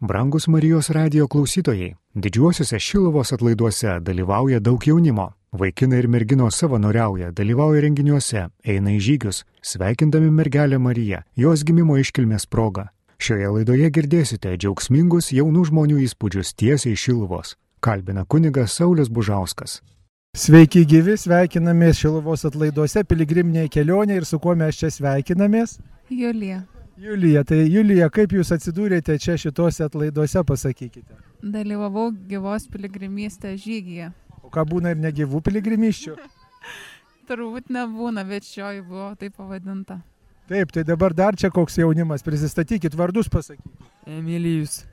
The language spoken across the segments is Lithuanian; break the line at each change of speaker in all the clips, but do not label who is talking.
Brangus Marijos radio klausytojai, didžiuosiuose Šiluvos atlaiduose dalyvauja daug jaunimo. Vaikinai ir merginos savanoriauja, dalyvauja renginiuose, eina į žygius, sveikindami mergelę Mariją, jos gimimo iškilmės progą. Šioje laidoje girdėsite džiaugsmingus jaunų žmonių įspūdžius tiesiai iš Šiluvos. Kalbina kunigas Saulis Bužauskas.
Sveiki gyvi, sveikinamės Šiluvos atlaiduose, piligriminėje kelionėje ir su kuo mes čia sveikinamės?
Julija,
Julija, tai Julija, kaip jūs atsidūrėte čia šitose atlaiduose, pasakykite.
dalyvavau gyvos piligrimystės žygyje.
O ką būna ir negyvų piligrimyščių?
Turbūt nebūna, bet šioji buvo taip pavadinta.
Taip, tai dabar dar čia koks jaunimas, prisistatykit vardus pasakykite.
Emilijus.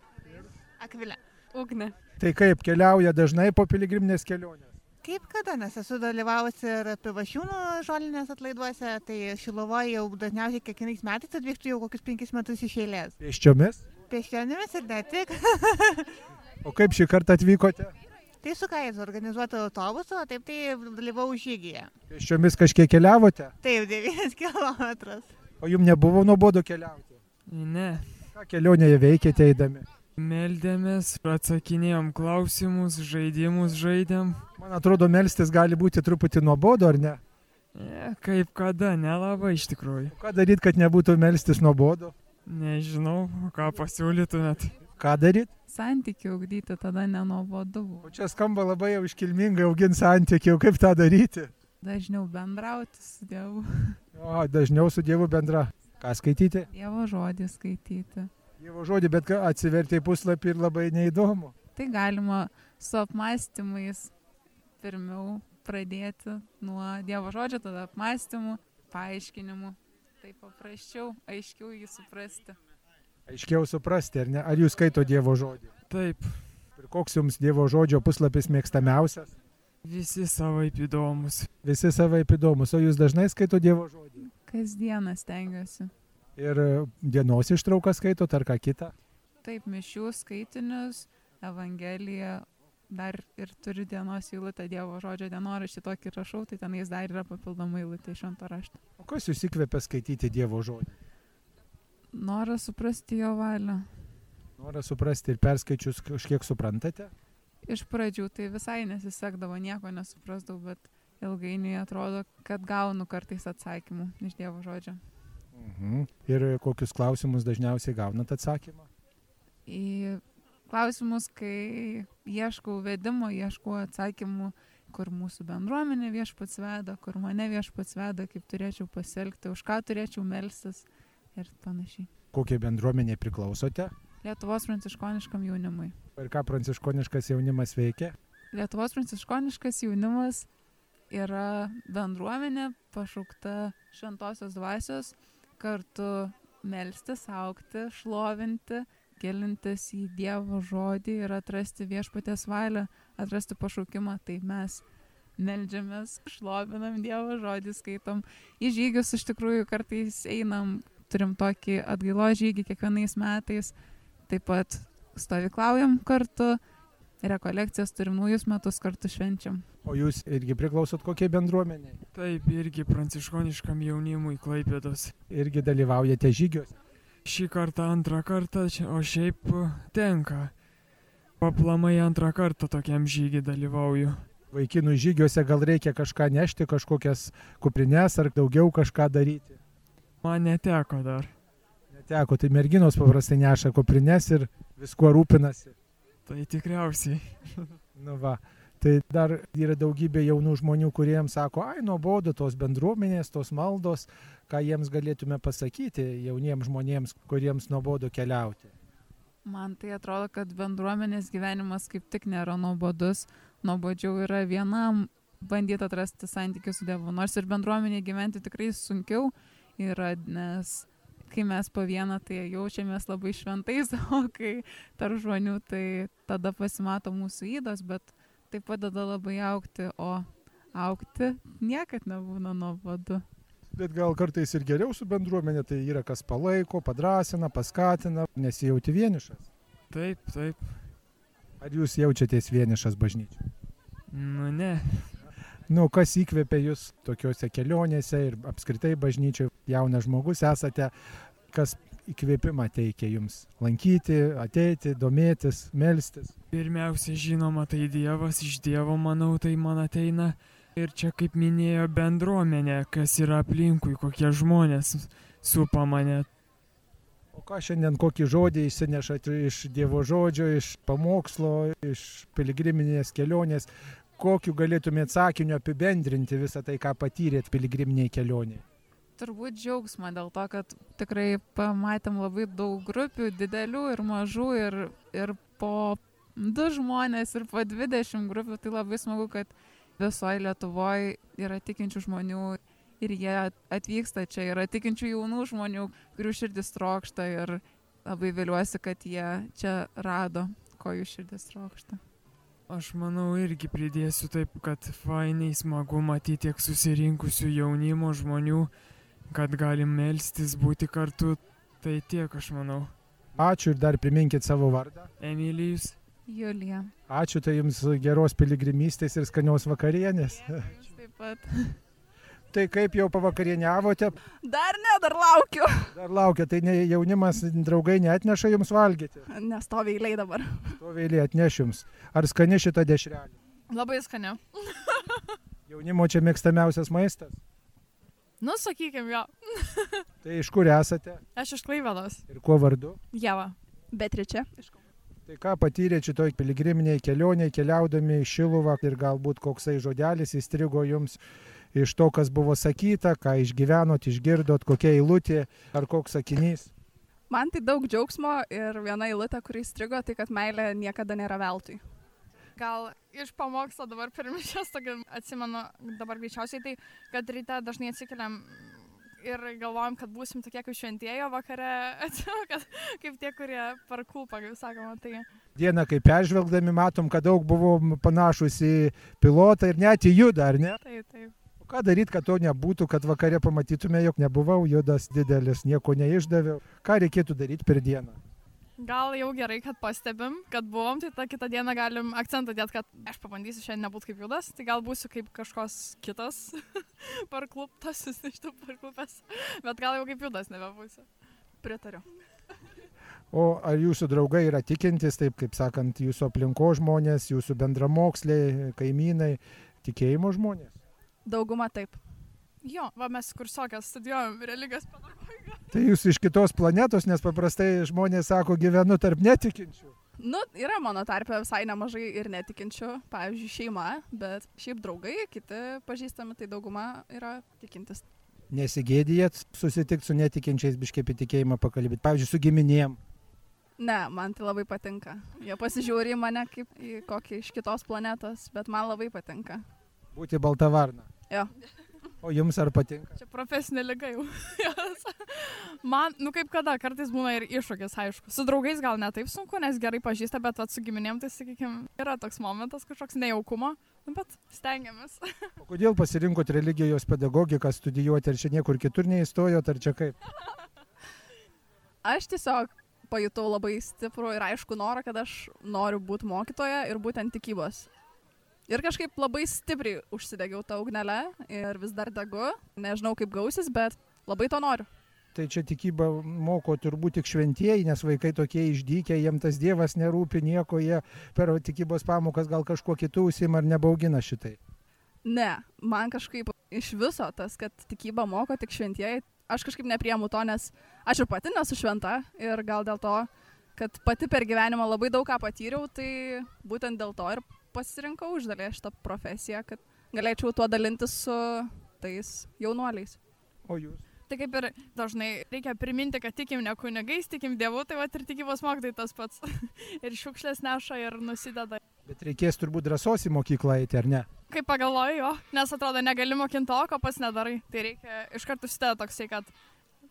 Akvilė. Ugne.
Tai kaip keliauja dažnai po piligriminės kelionės?
Kaip kada, nes esu dalyvavusi ir pivašiūnų žolinės atlaiduose, tai Šilovoje jau dažniausiai kiekvienais metais atvykstu jau kokius penkis metus iš eilės.
Pėsčiomis.
Pėsčionėmis ir ne tik.
O kaip šį kartą atvykote?
tai su ką jis organizuotų autobusu, o taip tai dalyvau žygyje. Tai
Pėsčiomis kažkiek keliavote?
Taip, 9 km.
O jums nebuvo nuobodu keliauti?
Ne.
Ką kelionėje veikėte eidami?
Meldėmės, atsakinėjom klausimus, žaidimus žaidėm.
Man atrodo, melstis gali būti truputį nuobodu, ar ne?
Ne, E, kaip kada, nelabai iš tikrųjų.
Ką daryti, kad nebūtų melstis nuobodu?
Nežinau, ką pasiūlytumėt.
Ką daryti?
Santykių ugdyti tada nenuobodu buvo.
O čia skamba labai jau iškilmingai augint santykių, kaip tą daryti?
Dažniau bendrauti su Dievu,
O, dažniau su Dievu bendra. Ką skaityti?
Dievo žodį skaityti.
Dievo žodį, bet ką atsiverti į puslapį ir labai neįdomu.
Tai galima su apmąstymais pirmiau pradėti nuo Dievo žodžio, tada apmąstymų, paaiškinimų. Tai paprasčiau, aiškiau jį suprasti.
Aiškiau suprasti, ar ne? Ar jūs skaito Dievo žodį?
Taip,
Ir koks jums Dievo žodžio puslapis mėgstamiausias?
visi savaip įdomus.
Visi savai įdomus, o jūs dažnai skaito Dievo žodį.
Kasdieną stengiuosi.
Ir e, dienos ištrauką skaito, ar ką kitą.
Taip, mišių skaitinius, Evangeliją, dar ir turiu dienos eilutę, Dievo žodžio dienoraštį tokį rašau, tai tenais dar yra papildoma eilutė iš šento rašto.
O kas jūs įkvėpia skaityti Dievo žodį?
Noras suprasti jo valią.
Norą suprasti ir perskaičius kažkiek suprantate.
Iš pradžių tai visai nesisekdavo, nieko nesuprastau, bet ilgainiui atrodo, kad gaunu kartais atsakymų iš Dievo žodžio.
Mhm. Ir e, kokius klausimus dažniausiai gaunat atsakymą?
Į klausimus, kai ieškau vedimo, ieškau atsakymų, kur mūsų bendruomenė viešpats veda, kur mane viešpats veda, kaip turėčiau pasielgti, už ką turėčiau melstis ir panašiai.
Kokiai bendruomeniai priklausote?
Lietuvos pranciškoniškam jaunimui.
Ir ką pranciškoniškas jaunimas veikia?
Lietuvos pranciškoniškas jaunimas yra bendruomenė pašaukta šventosios dvasios kartu melstis, aukti, šlovinti, gilintis į Dievo žodį ir atrasti viešpatės valią, atrasti pašaukimą. Tai mes meldžiamės, šlovinam Dievo žodį, skaitom. Į žygius iš tikrųjų kartais einam, turim tokį atgailo žygį kiekvienais metais. Taip pat stovyklaujam kartu, rekolekcijas turim naujus metus kartu švenčiam.
O jūs irgi priklausot kokiai bendruomeniai?
Taip, irgi pranciškoniškam jaunimui klaipėdos.
Irgi dalyvaujate žygiuose.
Šį kartą antrą kartą, čia- o šiaip uh, tenka. Paplamai antrą kartą tokiam žygį dalyvauju.
Vaikinų žygiuose gal reikia kažką nešti, kažkokias kuprinės ar daugiau kažką daryti.
Man neteko dar.
Neteko, tai merginos paprastai neša kuprinės ir viskuo rūpinasi.
Tai tikriausiai.
Nu va, tai dar yra daugybė jaunų žmonių, kuriems sako, ai, nuobodu tos bendruomenės, tos maldos, ką jiems galėtume pasakyti jauniems žmonėms, kuriems nuobodu keliauti.
Man tai atrodo, kad bendruomenės gyvenimas kaip tik nėra nuobodus, nuobodžiau yra vienam bandyti atrasti santykių su Dievu. Nors ir bendruomenė gyventi tikrai sunkiau yra, nes kai mes po vieną, tai jaučiamės labai šventais, o kai tarp žmonių, tai tada pasimato mūsų įdos, bet tai padeda labai aukti, o aukti niekad nebūna nuobodu.
Bet gal kartais ir geriau su bendruomenė, tai yra kas palaiko, padrasina, paskatina, nesijauti vienišas.
Taip, taip.
Ar jūs jaučiatės vienišas bažnyčiai?
Nu ne.
Nu, kas įkvėpia jūs tokiuose kelionėse ir apskritai bažnyčiai jaunas žmogus esate, kas įkvėpimą teikia jums lankyti, ateiti, domėtis, melstis?
Pirmiausia, žinoma, tai Dievas, iš Dievo, manau, tai man ateina. Ir čia, kaip minėjo bendruomenė, kas yra aplinkui, kokie žmonės supa mane.
O ką šiandien kokį žodį išsinešat iš Dievo žodžio, iš pamokslo, iš piligriminės kelionės? Kokiu galėtumėt sakiniu apibendrinti visą tai, ką patyrėt piligriminiai kelioniai?
Turbūt džiaugsmą dėl to, kad tikrai pamatėm labai daug grupių, didelių ir mažų, ir, ir po du žmonės, ir po dvidešimt grupių. Tai labai smagu, kad visoje Lietuvoje yra tikinčių žmonių ir jie atvyksta čia, yra tikinčių jaunų žmonių, kurių širdis trokšta ir labai viliuosi, kad jie čia rado, ko jų širdis trokšta.
Aš manau irgi pridėsiu taip, kad fainiai smagu matyti tiek susirinkusių jaunimo žmonių, kad galim melstis būti kartu. Tai tiek aš manau.
Ačiū ir dar priminkit savo vardą.
Emilijus,
Julija.
Ačiū tai jums geros piligrimystės ir skanios vakarienės.
Taip pat.
Tai kaip jau pavakarieniavote,
Dar ne, dar laukiu.
dar laukia, tai ne, jaunimas draugai neatneša jums valgyti.
Nestovi eiliai dabar.
To vėliai atneš jums. Ar skani šita dešrelė?
Labai skaniau.
Jaunimo čia mėgstamiausias maistas.
Nu, sakykime, jo.
Tai iš kur esate
Aš iš Klaivelos.
ir kuo vardu?
Jeva.
Bet trečia.
Tai ką patyrėte šitoj piligriminiai kelioniai, keliaudami į Šiluvą ir galbūt koksai žodelis įstrigo jums iš to, kas buvo sakyta, ką išgyvenot, išgirdot, kokia eilutė ar koks sakinys.
Man tai daug džiaugsmo ir viena eilutė, kurį strigo, tai kad meilė niekada nėra veltui.
Gal iš pamokslo dabar pirmišės, tokį atsimenu dabar greičiausiai, tai kad ryte dažnai atsikeliam ir galvojam, kad būsim tokie kaip šventėjo vakare, atsimenu, kad kaip tie, kurie parkūpa, kaip sakoma, tai
Dieną, kai peržvelgdami, matom, kad daug buvom panašus į pilotą ir net į judą, ar ne?
taip, taip.
O Ką daryti, kad to nebūtų, kad vakare pamatytume, jog nebuvau judas didelis, nieko neišdaviau. Ką reikėtų daryti per dieną?
Gal jau gerai, kad pastebim, kad buvom, tai tą kitą dieną galim akcentą dėti, kad aš pabandysiu šiandien nebūti kaip judas, tai gal būsiu kaip kažkoks kitas parkluptas, jis iš tų parklupęs, bet gal jau kaip judas nebebūsiu.
Pritariu.
O ar jūsų draugai yra tikintys, taip kaip sakant, jūsų aplinko žmonės, jūsų bendramoksliai, kaimynai, tikėjimo žmonės?
Dauguma taip.
Jo, va mes kursokias studijuojam religijos pedagogiką.
Tai jūs iš kitos planetos, nes paprastai žmonės sako, gyvenu tarp netikinčių.
Nu, yra mano tarpe visai nemažai ir netikinčių, pavyzdžiui, šeima, bet šiaip draugai, kiti pažįstami, tai dauguma yra tikintis.
Nesigėdijat susitikti su netikinčiais biškėpi tikėjimą pakalbėti, pavyzdžiui, su giminėm.
Ne, man tai labai patinka. Jie pasižiūri į mane kaip į kokį iš kitos planetos, bet man labai patinka.
Būti balta varna.
Jo.
O jums ar patinka?
Čia profesinė lyga jau. Jos. Man, nu kaip kada, kartais būna ir iššūkis, aišku. Su draugais gal ne taip sunku, nes gerai pažįsta, bet vat, su giminėm, tai sakykime, yra toks momentas kažkoks nejaukumo, nu, bet stengiamės.
O kodėl pasirinkot religijos pedagogiką studijuoti, ar čia niekur kitur neįstojot, ar čia kaip?
Aš tiesiog pajutau labai stiprų ir aišku norą, kad aš noriu būti mokytoja ir būtent tikybos. Ir kažkaip labai stipriai užsidegiau tą ugnelę ir vis dar degu. Nežinau, kaip gausis, bet labai to noriu.
Tai čia tikyba moko turbūt tik šventieji, nes vaikai tokie išdykę, jiem tas dievas nerūpi nieko, jie per tikybos pamokas gal kažkuo kitų užsima ar nebaugina šitai.
Ne, man kažkaip iš viso tas, kad tikybą moko tik šventieji, aš kažkaip nepriemu to, nes aš ir pati nesu šventa ir gal dėl to, kad pati per gyvenimą labai daug ką patyriau, tai būtent dėl to ir pasirinkau uždalė šitą profesiją, kad galėčiau tuo dalintis su tais jaunuoliais.
O jūs?
Tai kaip ir dažnai reikia priminti, kad tikim ne kunigais, tikim dievu, tai va ir tikybos mokytai tas pats. ir šiukšlės neša ir nusideda.
Bet reikės turbūt drąsos į mokyklą eiti, ar ne?
Kaip pagalvoju, jo, nes atrodo negali mokinti to, ko pas nedarai. Tai reikia iš karto sitė toksai, kad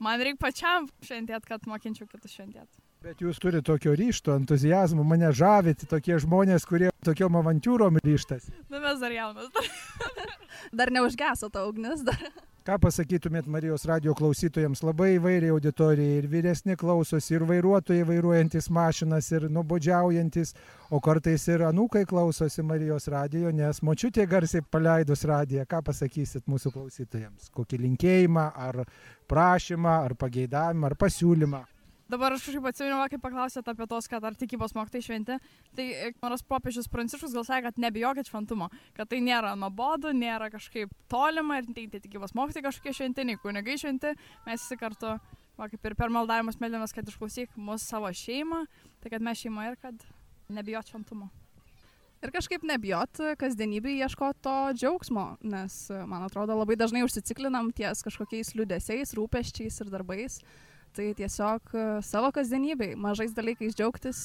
man reikia pačiam šventėt, kad mokinčiau kitus šventėt.
Bet jūs turite tokio ryšto, entuzijazmo, mane žavėti tokie žmonės, kurie tokiom avantūrom ryštas.
Nu mes dar jaunas.
Dar neužgeso ta ugnis, dar
Ką pasakytumėt Marijos radio klausytojams, labai įvairiai auditorija ir vyresni klausosi, ir vairuotojai vairuojantis mašinas, ir nubodžiaujantis, o kartais ir anūkai klausosi Marijos radio, nes močiutė garsiai paleidus radiją. Ką pasakysit mūsų klausytojams? Kokį linkėjimą, ar prašymą, ar pageidavimą, ar pasiūlymą?
Dabar aš kažkaip atsimenu, va, kai paklausėte apie tos, kad ar tikybos mokytai šventi, tai e, nors popiežius Pranciškus gal sakė, kad nebijokit šventumo, kad tai nėra nuobodu, nėra kažkaip tolima ir tai, tai tikybos mokytai kažkokie šventiniai, kunigai šventi, mes visi kartu, va, kaip ir per maldavimus melėmės, kad išklausyk mūsų savo šeimą, tai kad mes šeima ir kad nebijot šventumo.
Ir kažkaip nebijot kasdienybėje ieškoti to džiaugsmo, nes, e, man atrodo, labai dažnai užsiciklinam ties kažkokiais liūdėsiais, rūpeščiais ir darbais. Tai tiesiog e, savo kasdienybėje mažais dalykais džiaugtis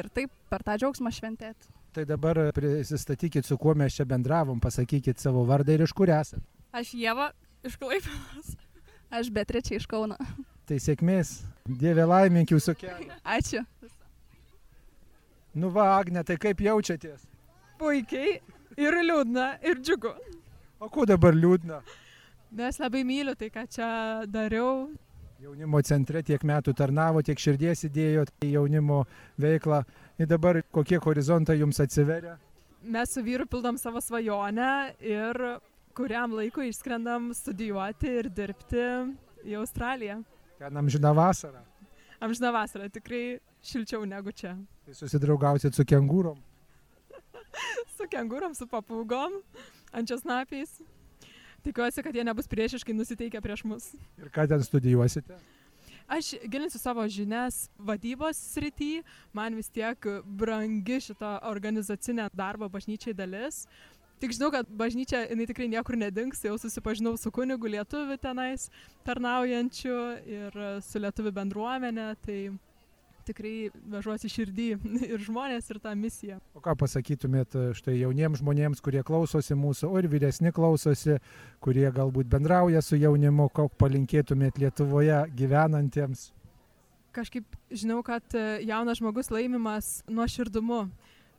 ir taip per tą džiaugsmą šventėti.
Tai dabar prisistatykit, su kuo mes čia bendravom, pasakykit savo vardą ir iš kur esate.
Aš Jėva išklaipau.
Aš Betričia iš Kauno.
Tai sėkmės, dievė laimink jūsų kelią.
Ačiū.
Nu va, Agne, tai kaip jaučiatės?
Puikiai. Ir liūdna, ir džiugu.
O ko dabar liūdna?
Nes labai myliu tai, ką čia dariau.
Jaunimo centre tiek metų tarnavo, tiek širdies įdėjo į jaunimo veiklą. Ir dabar kokie horizontai jums atsiveria?
Mes su vyru pildom savo svajonę ir kuriam laikui išskrendam studijuoti ir dirbti į Australiją.
Ten amžina vasara.
Amžina vasara tikrai šilčiau negu čia.
Tai susidraugausit su kengūrom.
Su kengūrom, su papūgom, ančiasnapiais. Tikiuosi, kad jie nebus priešiškai nusiteikę prieš mus.
Ir ką ten studijuosite?
Aš gilinsiu savo žinias vadybos srity, man vis tiek brangi šita organizacinė darbo bažnyčiai dalis. Tik žinau, kad bažnyčia, jinai tikrai niekur nedings, jau susipažinau su kunigu lietuviu tenais tarnaujančiu ir su lietuviu bendruomenė, tai tikrai vežuosi širdį ir žmonės, ir tą misiją.
O ką pasakytumėt e, štai jauniems žmonėms, kurie klausosi mūsų, o ir vyresni klausosi, kurie galbūt bendrauja su jaunimu, ko palinkėtumėt Lietuvoje gyvenantiems?
Kažkaip žinau, kad e, jaunas žmogus laimimas nuoširdumu.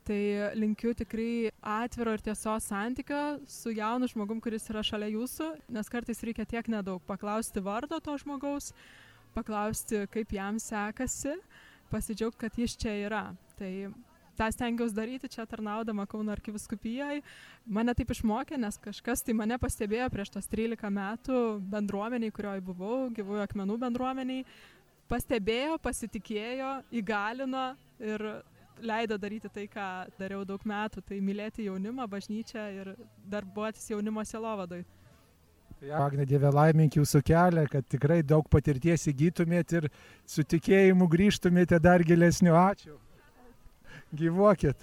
Tai linkiu tikrai atviro ir tiesos santykio su jaunu žmogum, kuris yra šalia jūsų, nes kartais reikia tiek nedaug paklausti vardo to žmogaus, paklausti, kaip jam sekasi, pasidžiaugti, kad jis čia yra. Tai tą stengiausi daryti čia tarnaudama Kauno arkiviskupijai. Mane taip išmokė, nes kažkas tai mane pastebėjo prieš tos 13 metų bendruomeniai, kurioje buvau, gyvųjų akmenų bendruomeniai. Pastebėjo, pasitikėjo, įgalino ir leido daryti tai, ką dariau daug metų, tai mylėti jaunimą, bažnyčią ir darbuotis jaunimo selovadoj.
Tai Agne, Dieve laimink jūsų kelią, kad tikrai daug patirties įgytumėt ir su tikėjimu grįžtumėte dar gilesniu. Ačiū. Gyvuokit.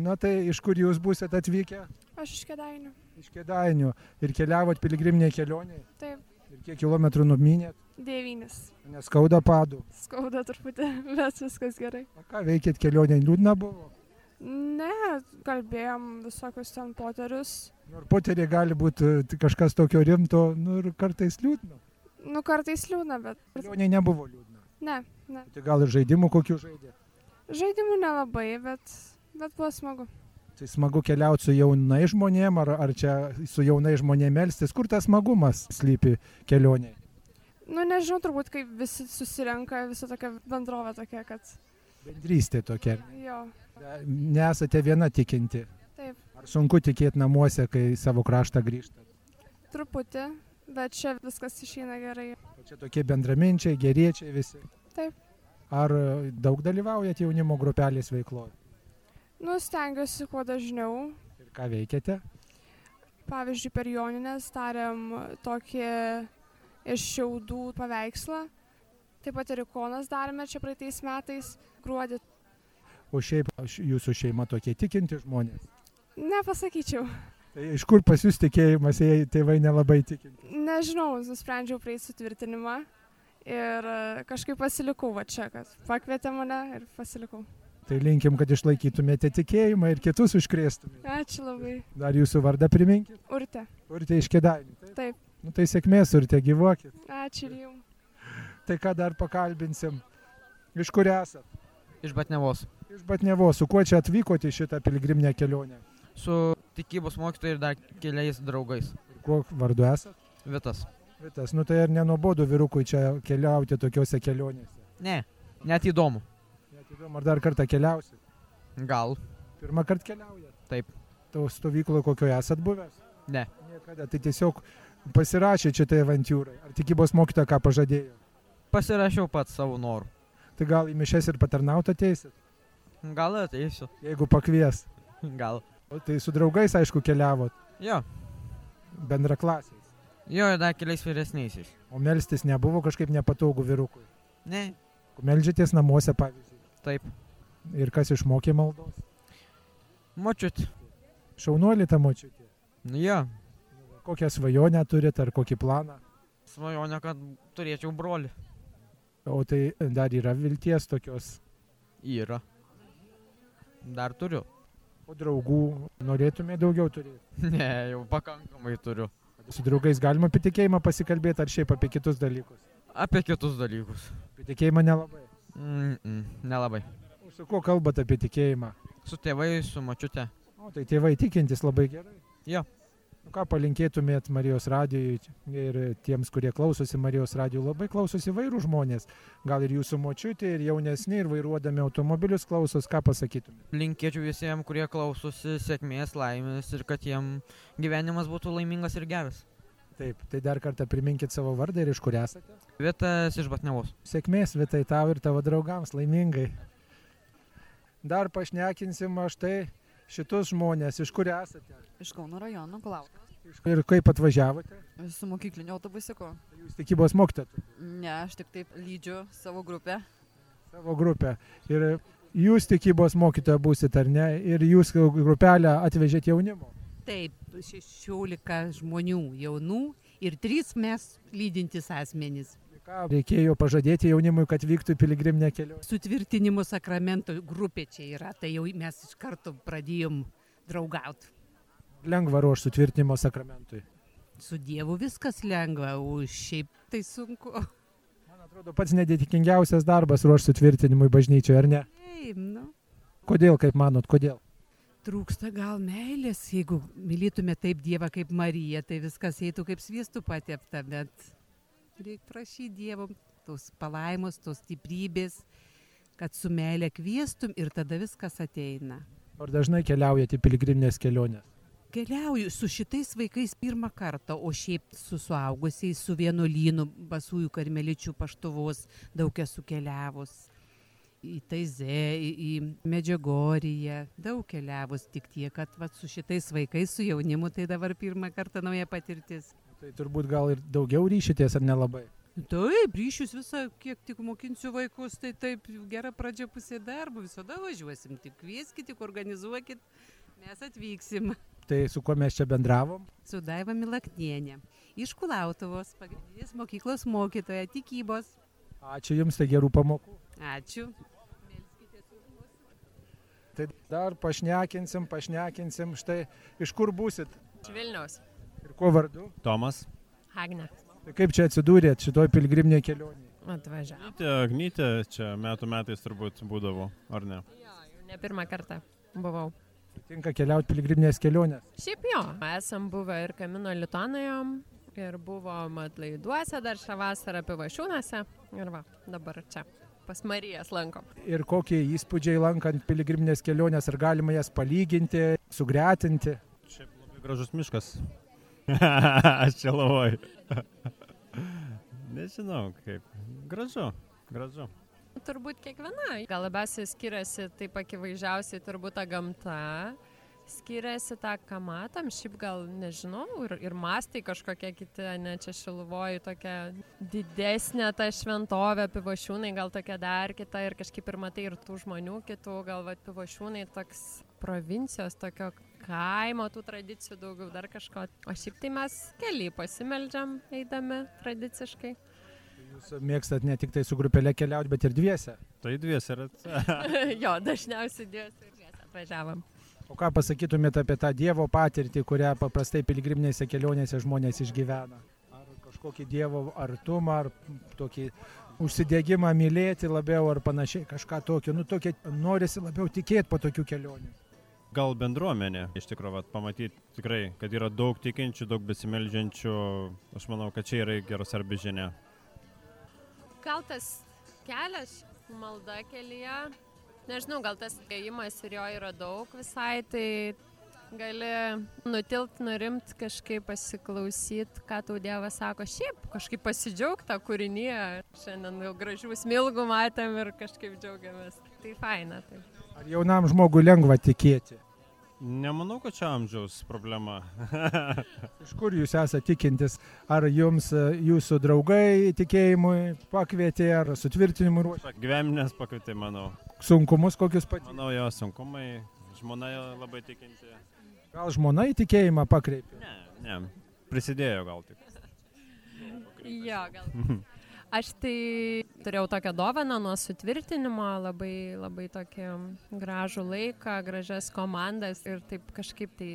Na tai iš kur jūs busit atvykę?
Aš iš kėdainių.
Iš Kedainių. Ir keliavot piligriminiai kelioniai.
Taip.
Ir kiek kilometrų numynėt?
Devynis.
Neskauda padų.
Skauda truputį, bet viskas gerai.
O ką veikėt kelioniai? Liūdna buvo.
Ne, kalbėjom visokius ten poterius.
Nu, Ir poterė gali būti e, tik kažkas tokio rimto, nu ir kartais liūdna.
Nu, kartais liūna, bet...
Kelionė nebuvo liūdna.
Ne, ne.
Tai gal ir žaidimų kokių žaidė.
Žaidimų nelabai, bet, bet buvo smagu.
Tai smagu keliauti su jaunai žmonėm, ar, ar čia su jaunai žmonėm melstis, kur tas smagumas slypi kelioniai.
Nu, nežinau, turbūt, kaip visi susirenka, visa tokia bendrovė tokia, kad...
Bendrystė tokia.
Jo,
Nesate viena tikinti.
Taip.
Ar sunku tikėti namuose, kai savo kraštą grįžtate?
truputį, bet čia viskas išeina gerai.
O Čia tokie bendraminčiai, geriečiai visi.
Taip.
Ar e, daug dalyvaujate jaunimo grupelės veikloje?
Nu, stengiuosi kuo dažniau.
Ir ką veikiate?
Pavyzdžiui, per Joninės darėm tokį iš šiaudų paveikslą. Taip pat ir ikonas darėme čia praeitais metais, gruodį.
O šiaip aš- jūsų šeima tokie tikinti žmonės.
Nepasakyčiau.
Tai iš kur pas jūs tikėjimas, jei tėvai nelabai tikinti?
Nežinau, nusprendžiau prieiti sutvirtinimą ir e, kažkaip pasilikau va čia, kad pakvietė mane ir pasilikau.
Tai linkim, kad išlaikytumėte tikėjimą ir kitus užkrėstumėte.
Ačiū labai.
Dar jūsų vardą priminkit.
Urte.
Urte iš kėdainių.
Taip.
Nu, tai sėkmės, urte gyvuokit.
Ačiū ir jums.
Tai ką dar pakalbinsim? Iš kur esat?
Iš Batnevos.
Iš Batnevo, su kuo čia atvykote į šitą piligriminę kelionę?
Su tikybos mokytoju ir dar keliais draugais.
Ir Kuo vardu esat?
Vitas.
Vitas, nu tai ar nenobodu vyrukui čia keliauti tokiuose kelionėse?
Ne, net įdomu.
Net įdomu, ar dar kartą keliausit?
Gal.
Pirmą kartą keliaujat?
Taip.
Tau stovykloje kokioje esat buvęs?
Ne.
Niekada, tai tiesiog pasirašė čia tai avantūrai. Ar tikybos mokytoja ką pažadėjo?
Pasirašiau pats savo norų.
Tai gal į mišes ir paternauto ateisit,
Gal ateisiu.
jeigu pakvies.
Gal.
O Tai su draugais, aišku, keliavot,
Jo.
bendraklasiais.
Jo, ir dar keliais vyresniaisiais.
O melstis nebuvo kažkaip nepatogu vyrukui.
Ne.
Meldžiatės namuose, pavyzdžiui.
Taip.
Ir kas išmokė maldos?
Močiut.
Šaunuolį tą močiutį.
Nu, Jo.
Kokią svajonę turit ar kokį planą?
Svajonė, kad turėčiau brolį.
O tai dar yra vilties tokios.
Yra. Dar turiu.
O draugų norėtume daugiau turėti.
Ne, jau pakankamai turiu.
Su draugais galima apie tikėjimą pasikalbėti ar šiaip apie kitus dalykus.
Apie kitus dalykus.
Apie tikėjimą nelabai.
Mm -mm, nelabai.
O Su kuo kalbate apie tikėjimą?
Su tėvais, su mačiute.
O tai tėvai tikintis labai gerai.
Jo.
Nu, ką palinkėtumėt Marijos radijui ir tiems, kurie klausosi Marijos radijų, labai klausosi vairų žmonės. Gal ir jūsų močiutė, ir jaunesni, ir vairuodami automobilius klausos, ką pasakytumėt.
Linkėčiau visiems, kurie klausosi sėkmės, laimės ir kad jiem gyvenimas būtų laimingas ir geras.
Taip, tai dar kartą priminkit savo vardą ir iš kur esate.
Vietas iš Batnevos.
Sėkmės vietai tau ir tavo draugams laimingai. Dar pašnekinsim aš tai šitus žmonės, iš kur esate
Iš Kauno rajono, klauk.
ir kaip atvažiavote.
Su mokykliniu autobusiku.
Jūs tikybos mokytat
Ne, aš tik taip lydžiu savo grupę.
savo grupę. Ir jūs tikybos mokytoja būsit ar ne, ir jūs grupelę atvežėt jaunimo.
Taip, 16 žmonių jaunų ir 3 mes lydintys asmenys.
Ką Reikėjo pažadėti jaunimui, kad vyktų į piligriminę kelionę.
Sutvirtinimo sakramento grupė čia yra, tai jau mes iš karto pradėjom draugauti.
Lengva ruošti sutvirtinimo sakramentui.
Su Dievu viskas lengva, o šiaip tai sunku.
Atrodo, Pats nedėtikingiausias darbas ruošti sutvirtinimui bažnyčioje, ar ne?
Taip, nu,
Kodėl, kaip manot, kodėl?
trūksta gal meilės, jeigu mylėtume taip Dievą kaip Mariją, tai viskas eitų kaip sviestų patepta, bet reikia prašyti Dievo tos palaimos, tos stiprybės, kad su meilė kvieštum ir tada viskas ateina.
Ar dažnai keliaujate į piligriminės keliones?
Keliauju su šitais vaikais pirmą kartą, o šiaip su suaugusiais, su vienuolynu, basųjų karmeličių paštuvos, daug esu keliavus. Į Taizę, į, į Medžiagoriją, daug keliavus, tik tiek, kad vat, su šitais vaikais, su jaunimu, tai dabar pirmą kartą nauja patirtis.
Tai turbūt gal ir daugiau ryšitės, ar nelabai?
Taip, ryšius visą, kiek tik mokinsiu vaikus, tai taip, gera pradžia pusė darbo, visada važiuosim, tik kvieskit, tik organizuokit, mes atvyksim.
Tai su kuo mes čia bendravom?
su Daiva Milaknienė iš Kulautuvos, pagrindinės mokyklos mokytoja tikybos.
Ačiū Jums, tai gerų pamokų.
Ačiū.
Tai dar pašnekinsim, pašnekinsim, štai iš kur būsit
Iš Vilniaus.
ir kuo vardu.
Tomas.
Agne.
Tai kaip čia atsidūrėt šitoj pilgriminėje kelionėje?
Atvažiavo.
Gnytė čia metų metais turbūt būdavo, ar ne?
Ne pirmą kartą buvau.
Tinka keliauti pilgriminės kelionės.
Šiaip jo, esam buvę ir Kamino Litonijom, ir buvom atlaiduose dar šią vasarą pivašiūnose. Ir va, dabar čia. Pas Marijas lankom.
Ir kokie įspūdžiai lankant pilgriminės kelionės, ar galima jas palyginti, sugretinti?
Labai gražus miškas. Aš čia lavoj. Nežinau, kaip. Gražu, gražu.
Turbūt kiekviena. Gal labiausiai skiriasi taip akivaizdžiausiai turbūt ta gamta. Skiriasi tą, ką matom, šiaip gal nežinau, ir, ir mastai kažkokie kiti, ne čia šiluvoji tokia didesnė ta šventovė, pivašiūnai gal tokia dar kita ir kažkaip ir matai ir tų žmonių kitų, gal va pivašiūnai toks provincijos, tokio kaimo, tų tradicijų daugiau dar kažko. O šiaip tai mes keliai pasimeldžiam eidami tradiciškai.
Jūs mėgstat ne tik tai su grupelė keliauti, bet ir dviese.
Tai dviesi yra.
jo, dažniausiai dviesi ir dviesi atvažiavam.
O ką pasakytumėte apie tą Dievo patirtį, kurią paprastai pilgriminėse kelionėse žmonės išgyvena? Ar kažkokį Dievo artumą, ar tokį užsidėgymą mylėti labiau, ar panašiai kažką tokio. Nu, tokie norisi labiau tikėti po tokių kelionių.
Gal bendruomenė, iš tikrųjų, pamatyti tikrai, kad yra daug tikinčių, daug besimeldžiančių. Aš manau, kad čia yra geros arba žinia.
Gal tas kelias malda kelyje, nežinau, gal tas ėjimas ir jo yra daug visai, tai gali nutilt, nurimt, kažkaip pasiklausyti, ką tau Dievas sako. Šiaip kažkaip pasidžiaugti tą kūrinį. Šiandien jau gražių smilgų matėm ir kažkaip džiaugiamės. Tai faina. Tai.
Ar jaunam žmogui lengva tikėti?
Nemanau, kad čia amžiaus problema.
Iš kur jūs esate tikintis? Ar jums e, jūsų draugai tikėjimui pakvietė, ar sutvirtinimui ruošė?
Gyvenimas pakvietė, manau.
Sunkumus kokius pat?
Manau, jo sunkumai, žmona labai tikinti.
Gal žmona į tikėjimą pakreipė?
Ne, ne, prisidėjo gal tik.
Jo, gal. Aš tai turėjau tokią dovaną nuo sutvirtinimo, labai, labai tokį gražų laiką, gražias komandas ir taip kažkaip tai,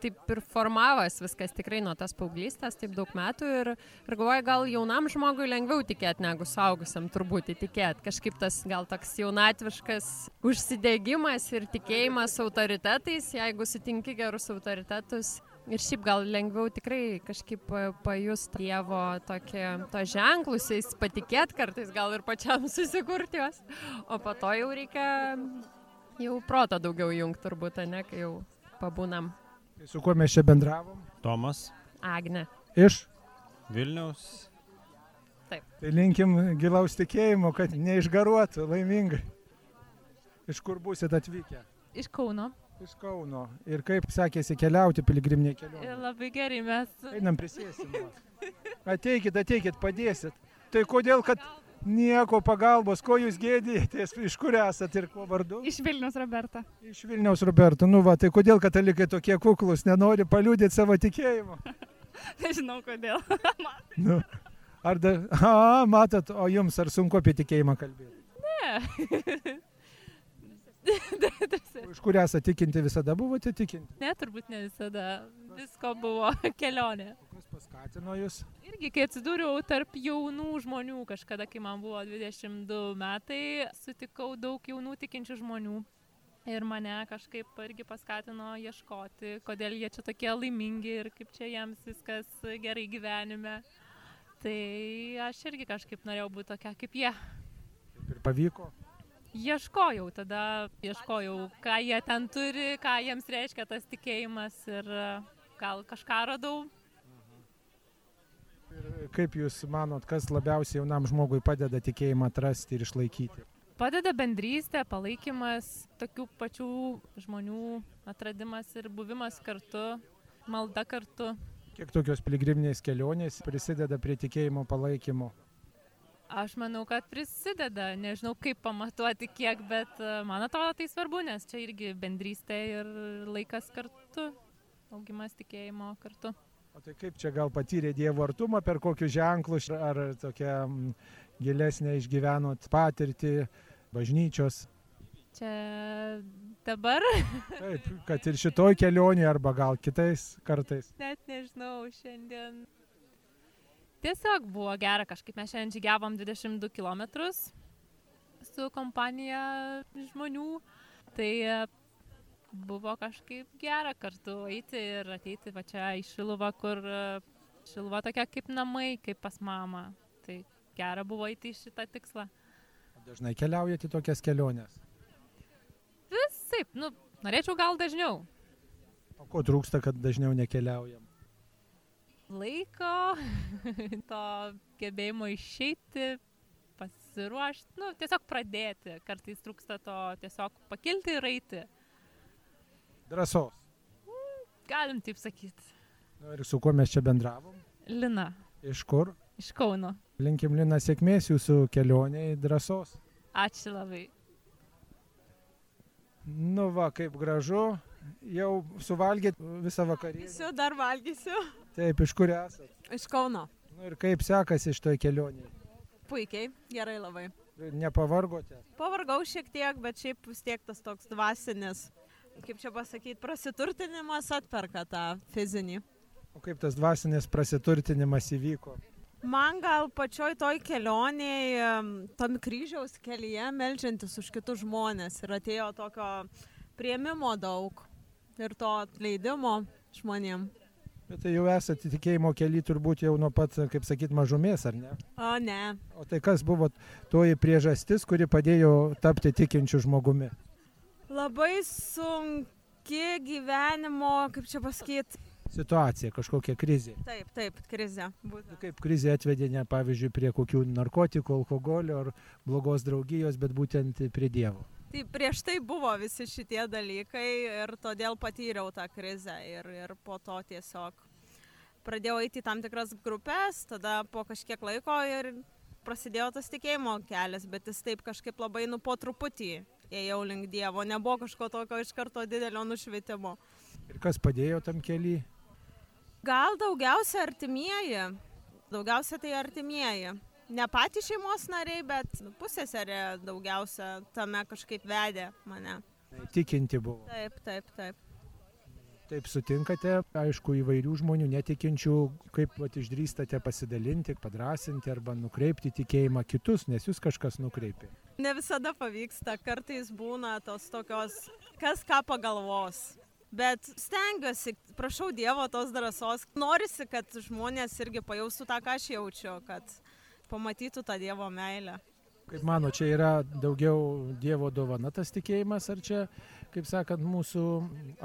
taip ir formavas viskas tikrai nuo tas paauglystės, taip daug metų ir, ir galvoju, gal jaunam žmogui lengviau tikėti negu suaugusiam turbūt įtikėti. Kažkaip tas gal toks jaunatviškas užsidėgymas ir tikėjimas autoritetais, jeigu sutinki gerus autoritetus, Ir šiaip gal lengviau tikrai kažkaip pa- pajust Dievo tokį, to ženklus, jais patikėt kartais gal ir pačiam susikurti juos. O po to jau reikia, jau protą daugiau jungti turbūt, ne, kai jau pabūnam.
Tai Su kuo mes čia bendravom?
Tomas
Agne.
Iš.
Vilniaus.
Taip.
Tai linkim gilaus tikėjimo, kad neišgaruotų laimingai. Iš kur būsit atvykę?
Iš Kauno.
Iš Kauno. Ir kaip sekėsi keliauti piligriminiai keliai?
Ir Labai gerai mes.
Einam prisėsim. Ateikit, ateikit, padėsit. Tai kodėl, kad nieko pagalbos, ko jūs gėdijatės, iš kur esate ir kuo vardu?
Iš Vilnius Roberta.
Iš Vilniaus Roberto, nu va, tai kodėl katalikai tokie kuklus, nenori paliūdėti savo tikėjimo?
Nežinau kodėl.
Nu, ar da, a, matot, o jums ar sunku apie tikėjimą kalbėti?
Ne.
Iš kur esate tikinti, visada buvote tikinti?
ne, turbūt ne visada. Visko buvo kelionė.
Skatino jūs?
Irgi, kai atsidūriau tarp jaunų žmonių, kažkada, kai man buvo 22 metai, sutikau daug jaunų tikinčių žmonių. Ir mane kažkaip irgi paskatino ieškoti, kodėl jie čia tokie laimingi ir kaip čia jiems viskas gerai gyvenime. Tai aš irgi kažkaip norėjau būti tokia kaip jie.
Ir pavyko?
Ieškojau tada, ieškojau, ką jie ten turi, ką jiems reiškia tas tikėjimas ir e, gal kažką radau.
Kaip jūs manot, kas labiausiai jaunam žmogui padeda tikėjimą atrasti ir išlaikyti?
Padeda bendrystė, palaikymas, tokių pačių žmonių atradimas ir buvimas kartu, malda kartu.
Kiek tokios piligriminės kelionės prisideda prie tikėjimo palaikymo?
Aš manau, kad prisideda, nežinau kaip pamatuoti kiek, bet e, man atrodo tai svarbu, nes čia irgi bendrystė ir laikas kartu, augimas tikėjimo kartu.
O tai kaip čia gal patyrė Dievo artumą, per kokius ženklus, ar tokią mm, gilesnę išgyvenot patirtį bažnyčios,
Čia dabar,
Taip, kad ir šitoj kelionėje arba gal kitais kartais.
net nežinau, šiandien. Tiesiog buvo gera kažkaip, mes šiandien žygiavom 22 km su kompanija žmonių. Tai e, buvo kažkaip gera kartu eiti ir ateiti va čia į Šiluvą, kur e, Šiluva tokia kaip namai, kaip pas mamą. Tai gera buvo eiti į šitą tikslą.
Dažnai keliaujate į tokias keliones.
Visai, nu, norėčiau gal dažniau.
O ko trūksta, kad dažniau nekeliaujam?
Laiko, to gebėjimo išeiti, pasiruošti, nu, tiesiog pradėti. Kartais trūksta to tiesiog pakilti ir eiti.
Drąsos.
Galim taip sakyti.
Nu, ir su kuo mes čia bendravom?
Lina,
Iš kur?
iš Kauno.
Linkim Lina sėkmės jūsų kelioniai, drąsos.
Ačiū labai.
Nu va, kaip gražu, jau suvalgėt visą vakarį.
Valgysiu, dar valgysiu.
Taip, iš kur esate?
Iš Kauno.
Nu, ir kaip sekasi iš toj kelioniai?
Puikiai, gerai labai.
Nepavargote?
Pavargau šiek tiek, bet šiaip vis tiek tas toks dvasinis, kaip čia pasakyti, prasiturtinimas atperka tą fizinį.
O kaip tas dvasinis prasiturtinimas įvyko?
Man gal pačioj toj kelionėje, tam kryžiaus kelyje, melžiantis už kitus žmonės ir atėjo tokio prieimimo daug ir to atleidimo žmonėm.
Bet tai jau esate tikėjimo keli turbūt jau nuo pat, kaip sakyt, mažumės, ar ne?
O ne,
O tai kas buvo toji priežastis, kuri padėjo tapti tikinčių žmogumi?
Labai sunki sunki gyvenimo, kaip čia pasakyti.
Situacija, kažkokia krizė.
Taip, taip, krizė. Būtent.
Kaip krizė atvedė ne, pavyzdžiui, prie kokių narkotikų, alkoholio ar blogos draugijos, bet būtent prie Dievo.
Tai prieš tai buvo visi šitie dalykai ir todėl patyriau tą krizę ir, ir po to tiesiog pradėjau eiti į tam tikras grupės, tada po kažkiek laiko ir prasidėjo tas tikėjimo kelias, bet jis taip kažkaip labai nu po truputį ėjau link Dievo, nebuvo kažko tokio iš karto didelio nušvitimo.
Ir kas padėjo tam keliui?
Gal daugiausia artimieji, daugiausia tai artimieji. Ne patys šeimos nariai, bet nu, pusėserė daugiausia tame kažkaip vedė mane.
Tikinti buvo.
Taip, taip, taip.
Taip sutinkate, aišku, įvairių žmonių netikinčių, kaip vat, išdrįstate pasidalinti, padrasinti arba nukreipti tikėjimą kitus, nes jūs kažkas nukreipė.
Ne visada pavyksta, kartais būna tos tokios, kas ką pagalvos. Bet stengiuosi, prašau Dievo tos drąsos, norisi, kad žmonės irgi pajaustų tą, ką aš jaučiu, kad pamatytų tą Dievo meilę.
Kaip mano, čia yra daugiau Dievo dovana tas tikėjimas, ar čia, kaip sakant, mūsų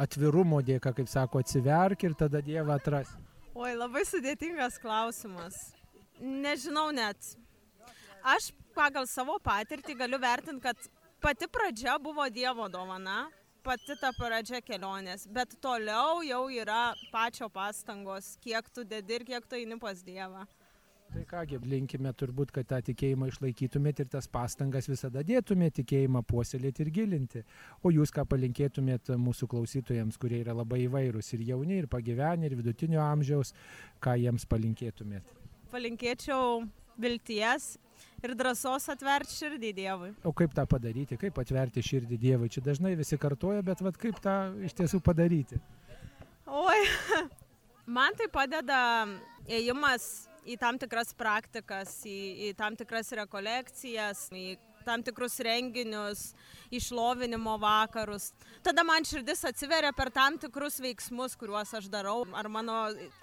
atvirumo dėka, kaip sako, atsiverk ir tada Dievą atras.
Oi, labai sudėtingas klausimas. Nežinau net. Aš pagal savo patirtį galiu vertinti, kad pati pradžia buvo Dievo dovana, pati ta pradžia kelionės, bet toliau jau yra pačio pastangos, kiek tu dedi ir kiek tu eini pas Dievą.
Tai kągi, linkime turbūt, kad tą tikėjimą išlaikytumėt ir tas pastangas visada dėtumėt tikėjimą puoselėti ir gilinti. O jūs ką palinkėtumėt mūsų klausytojams, kurie yra labai įvairūs ir jauni, ir pagyvenę, ir vidutinio amžiaus, ką jiems palinkėtumėt?
Palinkėčiau vilties ir drąsos atverti širdį Dievui.
O kaip tą padaryti, kaip atverti širdį Dievui? Čia dažnai visi kartoja, bet vat, kaip tą iš tiesų padaryti?
Oi, man tai padeda ėjimas į tam tikras praktikas, į, į tam tikras rekolekcijas, į tam tikrus renginius, išlovinimo vakarus. Tada man širdis atsiveria per tam tikrus veiksmus, kuriuos aš darau, ar mano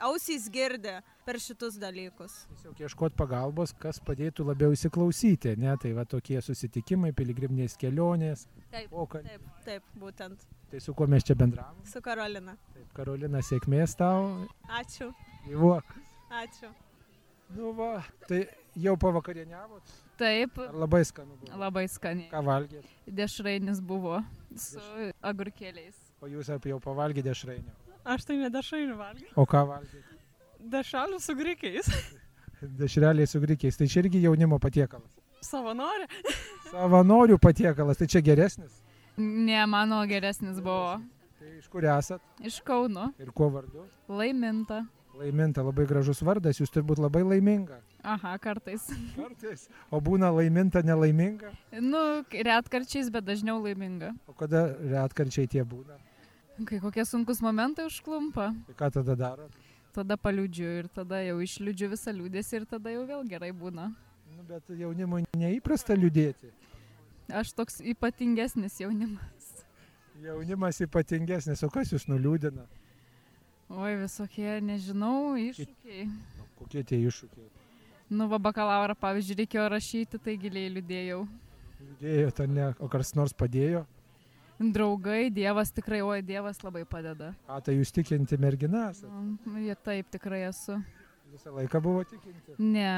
ausys girdi per šitus dalykus.
Tiesiog ieškoti pagalbos, kas padėtų labiau įsiklausyti, ne? Tai va tokie susitikimai, piligriminės kelionės.
Taip, pokalb... taip, taip, būtent.
Tai su kuo mes čia bendravome?
Su Karolina.
Taip, Karolina, sėkmės tau.
Ačiū.
Gyvuok.
Ačiū.
Nu va, tai jau pavakarieniavot?
Taip.
Ar labai skanu buvo.
Labai skaniai.
Ką valgėt?
Dešrainis buvo su Deš... agurkėliais.
O jūs apie jau pavalgėte dešrainio?
Aš tai ne dešrainį valgiau.
O ką valgėt?
Dešrelių su grikiais.
Dešreliai su grikiais, tai čia irgi jaunimo patiekalas.
Savanorių.
Savanorių patiekalas, tai čia geresnis?
Ne, mano geresnis buvo.
Tai iš kur esat?
Iš Kauno.
Ir kuo vardu?
Laiminta.
Laiminta, labai gražus vardas, jūs turbūt labai laiminga.
Aha, kartais.
Kartais. O būna laiminta, nelaiminga?
Nu, retkarčiais, bet dažniau laiminga.
O kada retkarčiai tie būna?
Kai kokie sunkus momentai užklumpa.
Tai ką tada darot?
Tada paliūdžiu ir tada jau išliūdžiu visą liūdėsi ir tada jau vėl gerai būna.
Nu, bet jaunimui neįprasta liūdėti.
Aš toks ypatingesnis jaunimas.
Jaunimas ypatingesnis, o kas jūs nuliūdina?
Oi, visokie, nežinau, iššūkiai.
Na, kokie tie iššūkiai?
Nu, va, bakalauro, pavyzdžiui, reikėjo rašyti, tai giliai liūdėjau.
Liūdėjau, tai ne, o kas nors padėjo?
Draugai, Dievas tikrai, oi, Dievas labai padeda.
A, tai jūs tikinti merginas?
Nu, jie taip tikrai esu.
Visą laiką buvo tikinti?
Ne.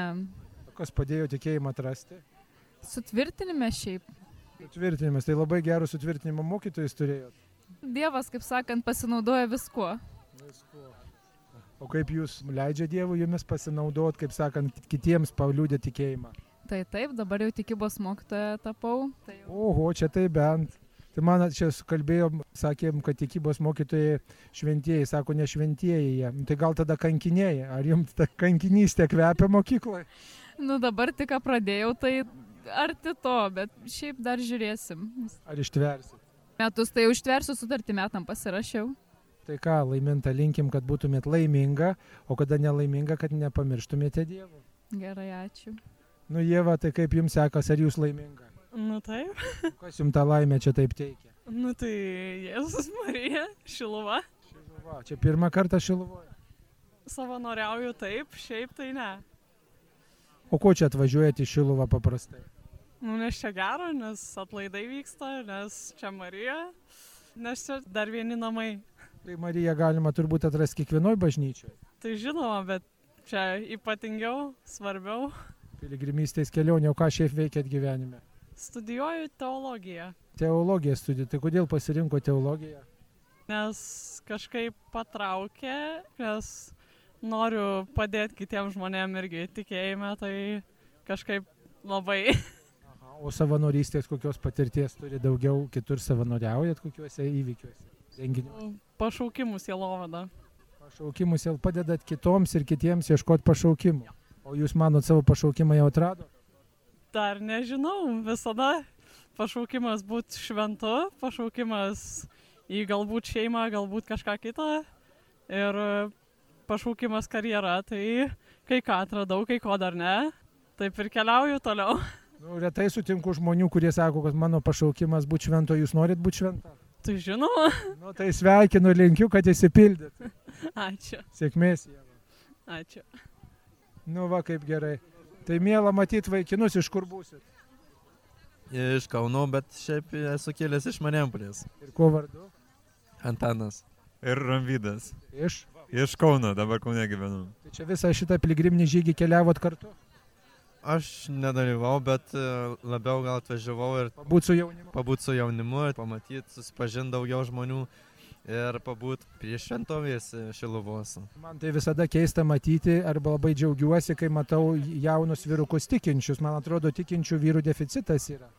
O kas padėjo tikėjimą atrasti?
Sutvirtinime šiaip.
Sutvirtinimas, tai labai gerų sutvirtinimo mokytojus turėjot.
Dievas, kaip sakant, pasinaudoja viskuo.
O kaip jūs leidžia Dievui jumis pasinaudot, kaip sakant, kitiems paliūdė tikėjimą?
Tai taip, dabar jau tikybos mokytoja tapau. Tai jau...
Oho, čia tai bent. Tai man čia kalbėjom, sakėm, kad tikybos mokytojai šventieji, sako, ne šventieji jie. Tai gal tada kankinėjai, ar jums ta kankinystė kvepia mokykloje?
Nu dabar tik pradėjau, tai arti to, bet šiaip dar žiūrėsim.
Ar ištversit?
Metus tai jau ištversiu, sutartį metam pasirašiau.
Tai ką, laiminta, linkim, kad būtumėt laiminga, o kada nelaiminga, kad nepamirštumėte Dievo.
Gerai, ačiū.
Nu, Jėva, tai kaip jums sekasi, ar jūs laiminga?
Nu, taip.
Kas jums tą laimę čia taip teikia?
Nu, tai Jėzus Marija, Šiluva.
Šiluva, čia pirmą kartą Šiluvoje.
Savanoriauju taip, šiaip tai ne.
O ko čia atvažiuojate į Šiluvą paprastai?
Nu, nes čia gero, nes atlaidai vyksta, nes čia Marija. Nes čia dar vieni namai.
Tai Mariją galima turbūt atrasti kiekvienoj bažnyčioje.
Tai žinoma, bet čia ypatingiau, svarbiau.
Piligrimystės kelionė, o ką šiaip veikėt gyvenime?
Studijuoju teologiją,
Teologiją studijų, tai kodėl pasirinko teologiją?
nes kažkaip patraukė, nes noriu padėti kitiems žmonėms irgi tikėjime, tai kažkaip labai
O savanorystės kokios patirties turi daugiau, kitur savanoriaujat kokiuose įvykiuose, renginiuose?
pašaukimų sielovada.
Pašaukimus jau padedat kitoms ir kitiems ieškoti pašaukimų. O jūs manot savo pašaukimą jau atrado?
Dar nežinau, visada pašaukimas būti šventu, pašaukimas į galbūt šeimą, galbūt kažką kitą ir pašaukimas karjera, tai kai ką atradau, kai ko dar ne, taip ir keliauju toliau.
Nu, retai sutinku žmonių, kurie sako, kad mano pašaukimas būti švento, jūs norit būti šventa.
Tai žinoma.
Nu, tai sveikinu, linkiu, kad įsipildyt.
Ačiū.
Sėkmės.
Ačiū.
Nu va, kaip gerai. Tai mėla matyti vaikinus, iš kur būsit.
Iš Kauno, bet šiaip esu kilęs iš Marijampolės.
Ir kuo vardu?
Antanas. Ir Ramvydas.
Iš?
Iš Kauno, dabar Kaune gyvenu.
Tai čia visą šitą piligriminį žygį keliavot kartu.
Aš nedalyvau, bet e, labiau gal atvažiavau ir...
Pabūt su jaunimu.
Pabūt su jaunimu ir pamatyti, susipažinti daugiau žmonių ir pabūt prie šventovės e, Šiluvos.
Man tai visada keista matyti arba labai džiaugiuosi, kai matau jaunus vyrukus tikinčius. Man atrodo, tikinčių vyrų deficitas yra.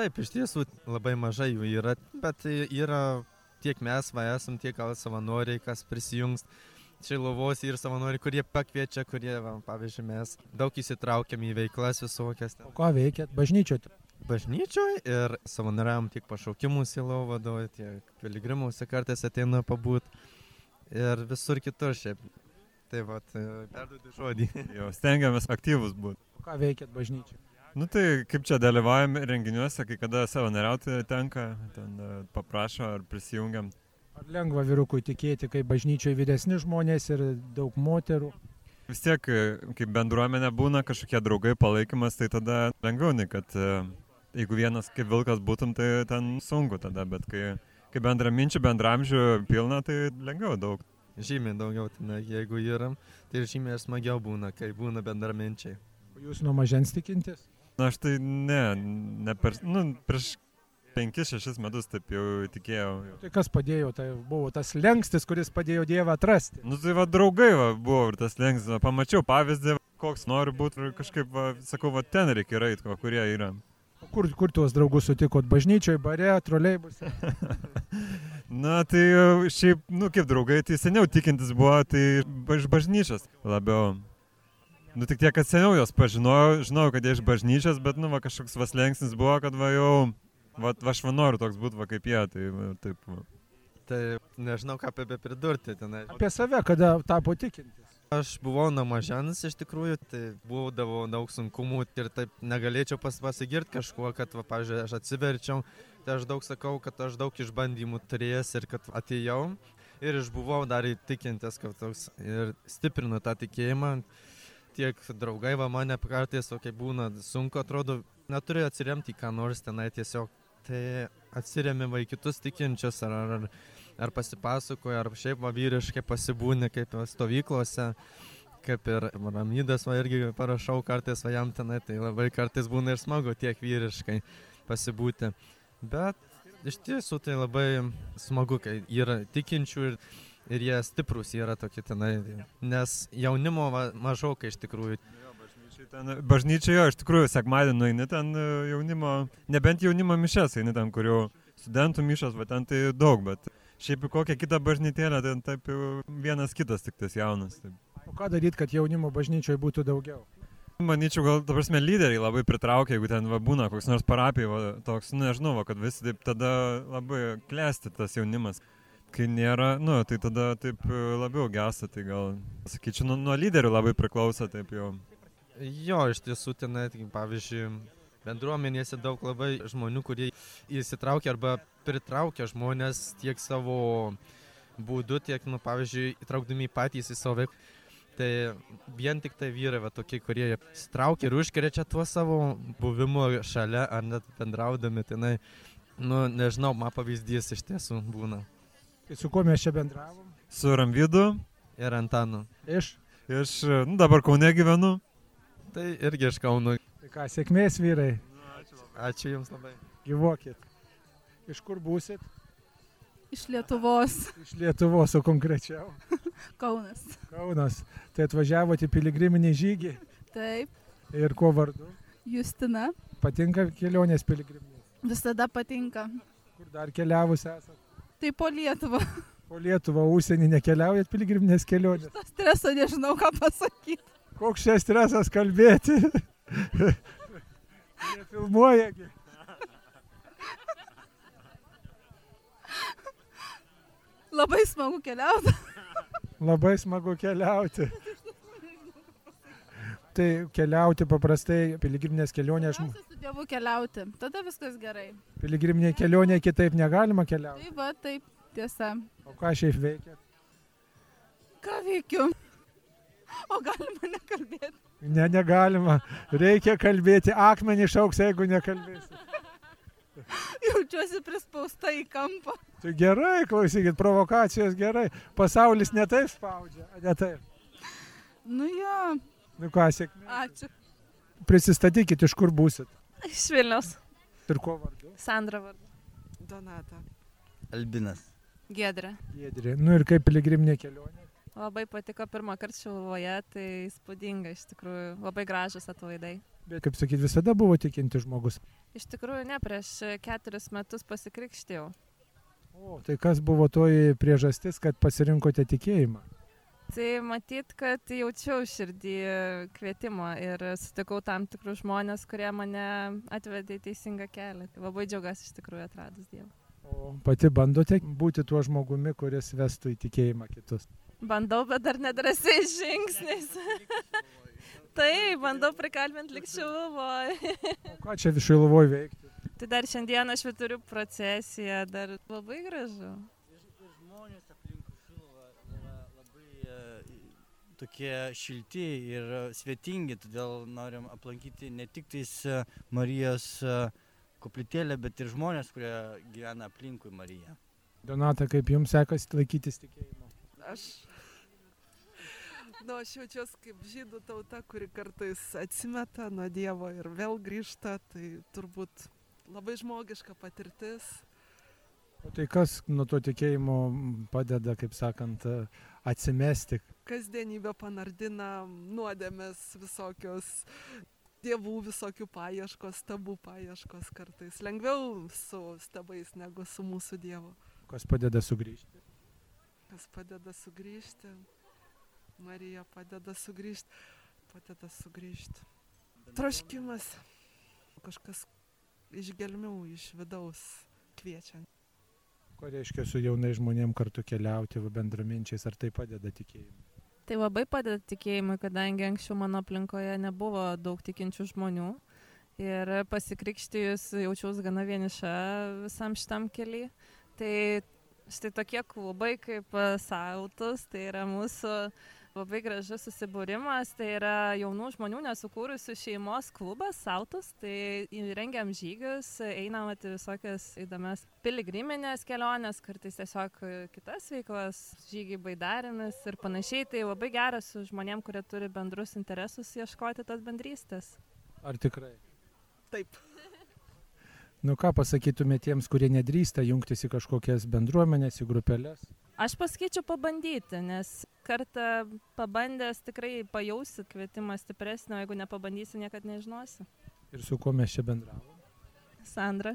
Taip, iš tiesų labai mažai jų yra, bet e, yra tiek mes, va esam, tiek gal savanoriai, kas prisijungs. Šiluvos ir savanoriai, kurie pakviečia, kurie, va, pavyzdžiui, mes daug įsitraukiam į veiklas visokias. ten.
Ko veikiat? Bažnyčioje.
bažnyčioje ir savanoriam tiek pašaukimų silo vadovoje, tiek piligrimuose kartais ateina pabūt ir visur kitur šiaip. Tai va, perduodu žodį.
Jau
stengiamės aktyvus būti.
Ką veikiat bažnyčioje?
Nu tai kaip čia dalyvaujam renginiuose, kai kada savanoriauti tenka, ten e, paprašo ar prisijungiam.
Ar lengva vyrukui tikėti, kai bažnyčioje vyresni žmonės ir daug moterų?
Vis tiek, e, kaip bendruomenė būna kažkokie draugai, palaikymas, tai tada lengviau, nei kad e, jeigu vienas kaip vilkas būtum, tai ten sunku tada, bet kai, kai bendraminčių, bendramžių pilna, tai lengviau daug.
Žymiai daugiau, ten, jeigu yra, tai ir žymiai smagiau būna, kai būna bendraminčiai.
Jūs nuo mažens tikintis?
Na aš tai ne, ne per, nu, prieš 5-6 metus taip jau tikėjau.
Tai kas padėjo, tai buvo tas lenkstis, kuris padėjo Dievą atrasti.
Nu tai va draugai va, buvo ir tas lengstis, pamačiau pavyzdį, koks nori būti ir kažkaip, va, sakau, va ten reikia eiti, va, kurie yra.
O Kur, kur tuos draugus sutikot? Bažnyčioje, bare, troliai bus.
Na tai e, šiaip, nu kaip draugai, tai seniau tikintis buvo, tai ba- iš bažnyčios labiau. Nu tik tiek, kad seniau jos pažinojau, žinojau, kad jie iš bažnyčios, bet nu va kažkoks vas lengsnis buvo, kad va jau, va, va aš va noriu toks būti, va kaip jie, tai va, taip. Va.
Tai nežinau, ką apie pridurti tenai.
Apie save, kada tapo tikinti.
Aš buvau namažanis iš tikrųjų, tai būdavo daug sunkumų ir taip negalėčiau pas, pasigirti kažkuo, kad, va, pavyzdžiui, aš atsiverčiau, tai aš daug sakau, kad aš daug išbandymų turėjęs ir kad atėjau ir išbuvau dar įtikintas, kad toks ir stiprinu tą tikėjimą. Tiek draugai va mane kartais, o kai būna sunku, atrodo, neturi atsiremti į ką nors tenai tiesiog. Tai atsiriami va į kitus tikinčius ar, ar, ar ar pasipasakoja, ar šiaip va vyriškai pasibūni kaip va stovyklose, kaip ir ramydas, va irgi parašau kartais va jam tenai, tai labai kartais būna ir smagu tiek vyriškai pasibūti. Bet iš tiesų tai labai smagu, kai yra tikinčių ir, ir jie stiprus yra tokie tenai, nes jaunimo va, mažokai iš tikrųjų.
Ten bažnyčioje, jo, iš tikrųjų, sekmadienį nueini ten e, jaunimo, nebent jaunimo mišes, eini ten, kur jau studentų mišas, bet ten tai daug, bet šiaip į kokią kitą bažnytėlę, ten taip jau vienas kitas tik tas jaunas. Taip.
O ką daryti, kad jaunimo bažnyčioje būtų daugiau?
Manyčiau, gal, ta prasme, lyderiai labai pritraukia, jeigu ten va, būna koks nors parapijai, va, toks, nu, nežinau, va, kad visi taip tada labai klesti tas jaunimas. Kai nėra, nu, tai tada taip e, labiau gesa, tai gal, sakyčiau, nu, nuo, nuo lyderių labai priklauso taip jau.
Jo, iš tiesų tenai, tik, pavyzdžiui, bendruomenėse daug labai žmonių, kurie įsitraukia arba pritraukia žmonės tiek savo būdu, tiek, nu, pavyzdžiui, įtraukdami patys į savo veiklą. Tai vien tik tai vyrai, va, tokie, kurie įsitraukia ir užkrečia tuo savo buvimu šalia ar net bendraudami tenai. Nu, nežinau, man pavyzdys iš tiesų būna.
Tai su kuo mes čia bendravom?
Su Ramvydu.
Ir Antanu.
Iš?
Iš, nu, dabar Kaune gyvenu.
Tai irgi iš Kauno.
Tai ką, sėkmės vyrai,
Ačiū Jums labai.
gyvokit. Iš kur būsit?
Iš Lietuvos,
Iš Lietuvos, o konkrečiau.
Kaunas.
Kaunas. Tai atvažiavote į piligriminį žygį
Taip,
ir kuo vardu?
Justina,
Patinka kelionės piligriminės.
visada patinka.
Kur dar keliavus esate?
Tai po Lietuvą.
Po Lietuvą, užsienį nekeliaujat piligriminės kelionės.
To streso nežinau, ką pasakyti.
Koks čia stresas kalbėti? Jie filmuoja. gi.
Labai smagu keliauti.
Labai smagu keliauti. Tai keliauti paprastai, piligriminės kelionės, žmo-
Su Dievu keliauti. Tada viskas gerai.
piligriminė kelionė kitaip negalima keliauti.
Tai va, taip, tiesa.
O ką šiaip veikia?
Ką veikiu? O galima nekalbėti.
Ne, negalima. Reikia kalbėti. Akmenį šauks, jeigu nekalbėsi.
Jaučiuosi prispausta į kampą.
Tai gerai, klausykit, provokacijos gerai. Pasaulis netaip spaudžia, a, ne taip.
Nu jo,
Nu ką, sėkmė.
ačiū.
Prisistatykit, iš kur būsit.
Iš Vilnius.
Ir kuo vardu?
Sandra vardu. Donata.
Albinas.
Gedrė.
Giedrė. Nu ir kaip piligriminė kelionė.
Labai patiko pirmą kartą šiluvoje, tai įspūdinga iš tikrųjų. Labai gražus atvaidai.
Bet, kaip sakyt, visada buvo tikinti žmogus.
Iš tikrųjų, ne prieš keturis metus pasikrikštėjau.
O, Tai kas buvo toji priežastis, kad pasirinkote tikėjimą?
Tai matyt, kad jaučiau širdį kvietimą ir sutikau tam tikrus žmonės, kurie mane atvedė į teisingą kelią. Tai labai džiaugiuosi iš tikrųjų atradus Dievą.
Pati bandote būti tuo žmogumi, kuris vestų į tikėjimą kitus.
Bandau, bet dar nedrasiais žingsniais. Taip, bandau prikalbinti likščiuvo.
O Ką čia Šiluvoj veikia?
Tai dar šiandieną šviturių procesija, dar labai gražu.
e, Tokie šilti ir e, svetingi, todėl norim aplankyti ne tik tais e, Marijos e, koplytėlę, bet ir žmonės, kurie gyvena aplinkui Mariją.
Donata, kaip jums sekasi laikytis tikėjimo?
Aš. Nu, aš jaučiuosi kaip žydų tauta, kuri kartais atsimeta nuo Dievo ir vėl grįžta. Tai turbūt labai žmogiška patirtis.
O tai kas nuo to tikėjimo padeda, kaip sakant, atsimesti?
Kasdienybė panardina nuodėmės visokios, dievų visokių paieškos, stabų paieškos kartais. Lengviau su stabais negu su mūsų Dievu.
Kas padeda sugrįžti?
kas padeda sugrįžti. Marija padeda sugrįžti, padeda sugrįžti. Troškimas. Kažkas iš gelmių, iš vidaus kviečia.
Ko reiškia su jaunai žmonėm kartu keliauti, va, bendraminčiais, ar tai padeda tikėjimui?
Tai labai padeda tikėjimui, kadangi anksčiau mano aplinkoje nebuvo daug tikinčių žmonių. Ir pasikrikštijus jaučiausi gana vieniša visam šitam keliui. Tai štai tokie klubai kaip e, Sautus, tai yra mūsų labai gražus susibūrimas, tai yra jaunų žmonių nesukūrusių šeimos klubas Sautus, tai rengiam žygius, einam į visokias įdomias piligriminės keliones, kartais tiesiog e, kitas veiklas, žygiai baidarimis ir panašiai, tai labai geras su žmonėm, kurie turi bendrus interesus ieškoti tas bendrystės.
Ar tikrai?
Taip.
Nu ką pasakytume tiems, kurie nedrįsta jungtis į kažkokias bendruomenės, į grupelės?
Aš paskaičiu pabandyti, nes kartą pabandęs tikrai pajausit kvietimą stipresnio, jeigu nepabandysi, niekada nežinosi.
Ir su kuo mes čia bendravome?
Sandra.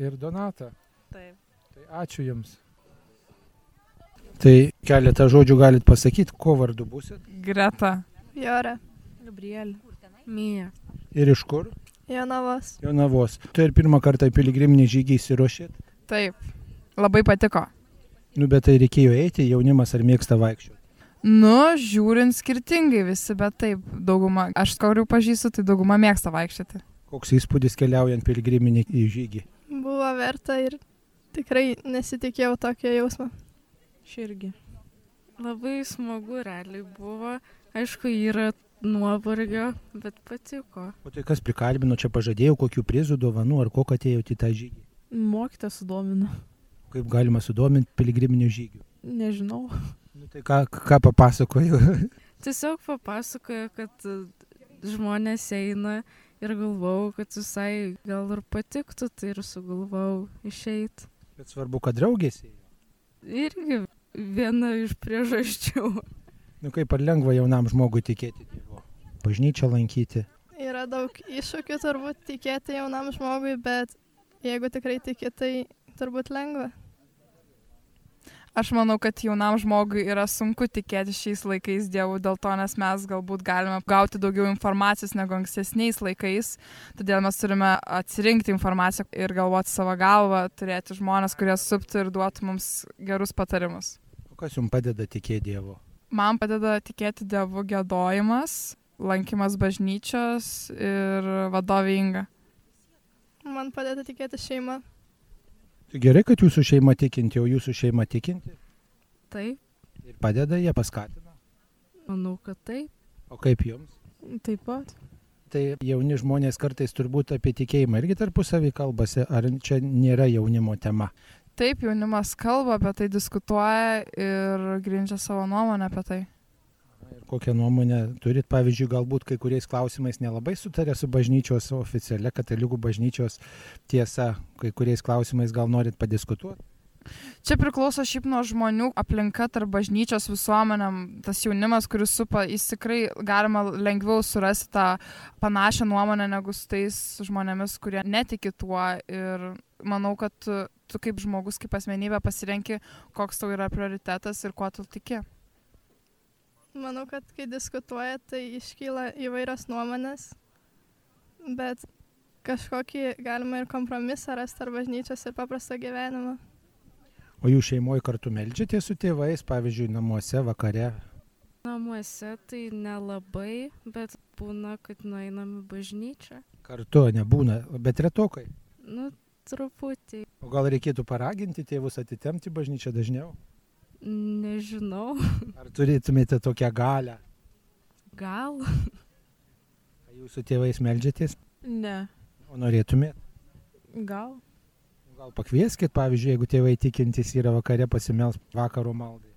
Ir Donata.
Taip.
Tai ačiū Jums. Tai keletą žodžių galit pasakyti, kuo vardu būsit
Greta.
Jora.
Gabrielė.
Mija.
ir iš kur?
Jonavas.
Jonavos. Tai ir pirmą kartą į piligriminį žygį įsiruošėt?
Taip. Labai patiko.
Nu, bet tai reikėjo eiti, jaunimas ar mėgsta vaikščioti.
Nu, žiūrint skirtingai visi, bet taip, dauguma, aš skaurių pažįstu, tai dauguma mėgsta vaikščioti.
Koks įspūdis keliaujant piligriminį į žygį?
Buvo verta ir tikrai nesitikėjau tokio jausmo.
Širgi.
Labai smagu realiai buvo. Aišku, yra nuovargio, bet patiko.
tai O tai kas prikalbino, čia pažadėjau kokių prizų, dovanų ar ko atėjote į tą žygį?
Mokytą sudomino.
Kaip galima sudominti piligriminių žygių?
Nežinau.
Tai ką, ką papasakoju?
Tiesiog papasakojo, kad e, žmonės eina ir galvau, kad visai gal ir patiktų, tai ir sugalvau išeiti.
Bet svarbu, kad draugės.
Irgi viena iš priežasčių.
Nu kaip ar lengva jaunam žmogui tikėti Dievu? Bažnyčią lankyti.
Yra daug iššūkių turbūt tikėti jaunam žmogui, bet jeigu tikrai tiki, tai turbūt lengva.
Aš manau, kad jaunam žmogui yra sunku tikėti šiais laikais Dievu, dėl to, nes mes galbūt galime gauti daugiau informacijos negu ankstesniais laikais, todėl mes turime atsirinkti informaciją ir galvoti savo galvą, turėti žmonės, kurie suptų ir duotų mums gerus patarimus.
O kas jums padeda tikėti Dievu?
Man padeda tikėti Dievu gėdojimas, lankymas bažnyčios ir vadovinga.
Man padeda tikėti šeima.
Tai Gerai, kad jūsų šeima tikinti, o jūsų šeima tikinti.
Taip,
Ir padeda, jie paskatina.
manau, kad taip.
O kaip jums?
Taip pat.
Tai jauni žmonės kartais turbūt apie tikėjimą irgi tarpusavį kalbasi, ar čia nėra jaunimo tema.
Taip, jaunimas kalba apie tai, diskutuoja ir grindžia savo nuomonę apie tai.
Ir kokią nuomonę turit, pavyzdžiui, galbūt kai kuriais klausimais nelabai sutarė su bažnyčios oficialia katalikų bažnyčios tiesa, kai kuriais klausimais gal norit padiskutuoti.
Čia priklauso šiaip nuo žmonių aplinka tarp bažnyčios visuomenėm. Tas jaunimas, kuris supa, jis tikrai galima lengviau surasti tą panašią nuomonę negu su tais žmonėmis, kurie netiki tuo. Ir manau, kad tu, tu kaip žmogus, kaip asmenybė pasirenki, koks tau yra prioritetas ir kuo tu tiki.
Manau, kad kai diskutuoja, tai iškyla įvairios nuomonės, bet kažkokį galima ir kompromisą rasti tarp bažnyčios ir paprasto gyvenimo.
O jų šeimoje kartu melžiate su tėvais, pavyzdžiui, namuose, vakare.
Namuose tai nelabai, bet būna, kad nueinam į bažnyčią.
Kartu nebūna, bet retokai.
Nu, truputį.
O gal reikėtų paraginti tėvus atitemti bažnyčią dažniau?
Nežinau.
Ar turėtumėte tokią galę?
Gal?
Ar Jūs su tėvais melžiatės,
Ne.
o norėtumėt?
Gal?
Gal pakvieskit, pavyzdžiui, jeigu tėvai tikintys yra vakare pasimels vakaro maldai.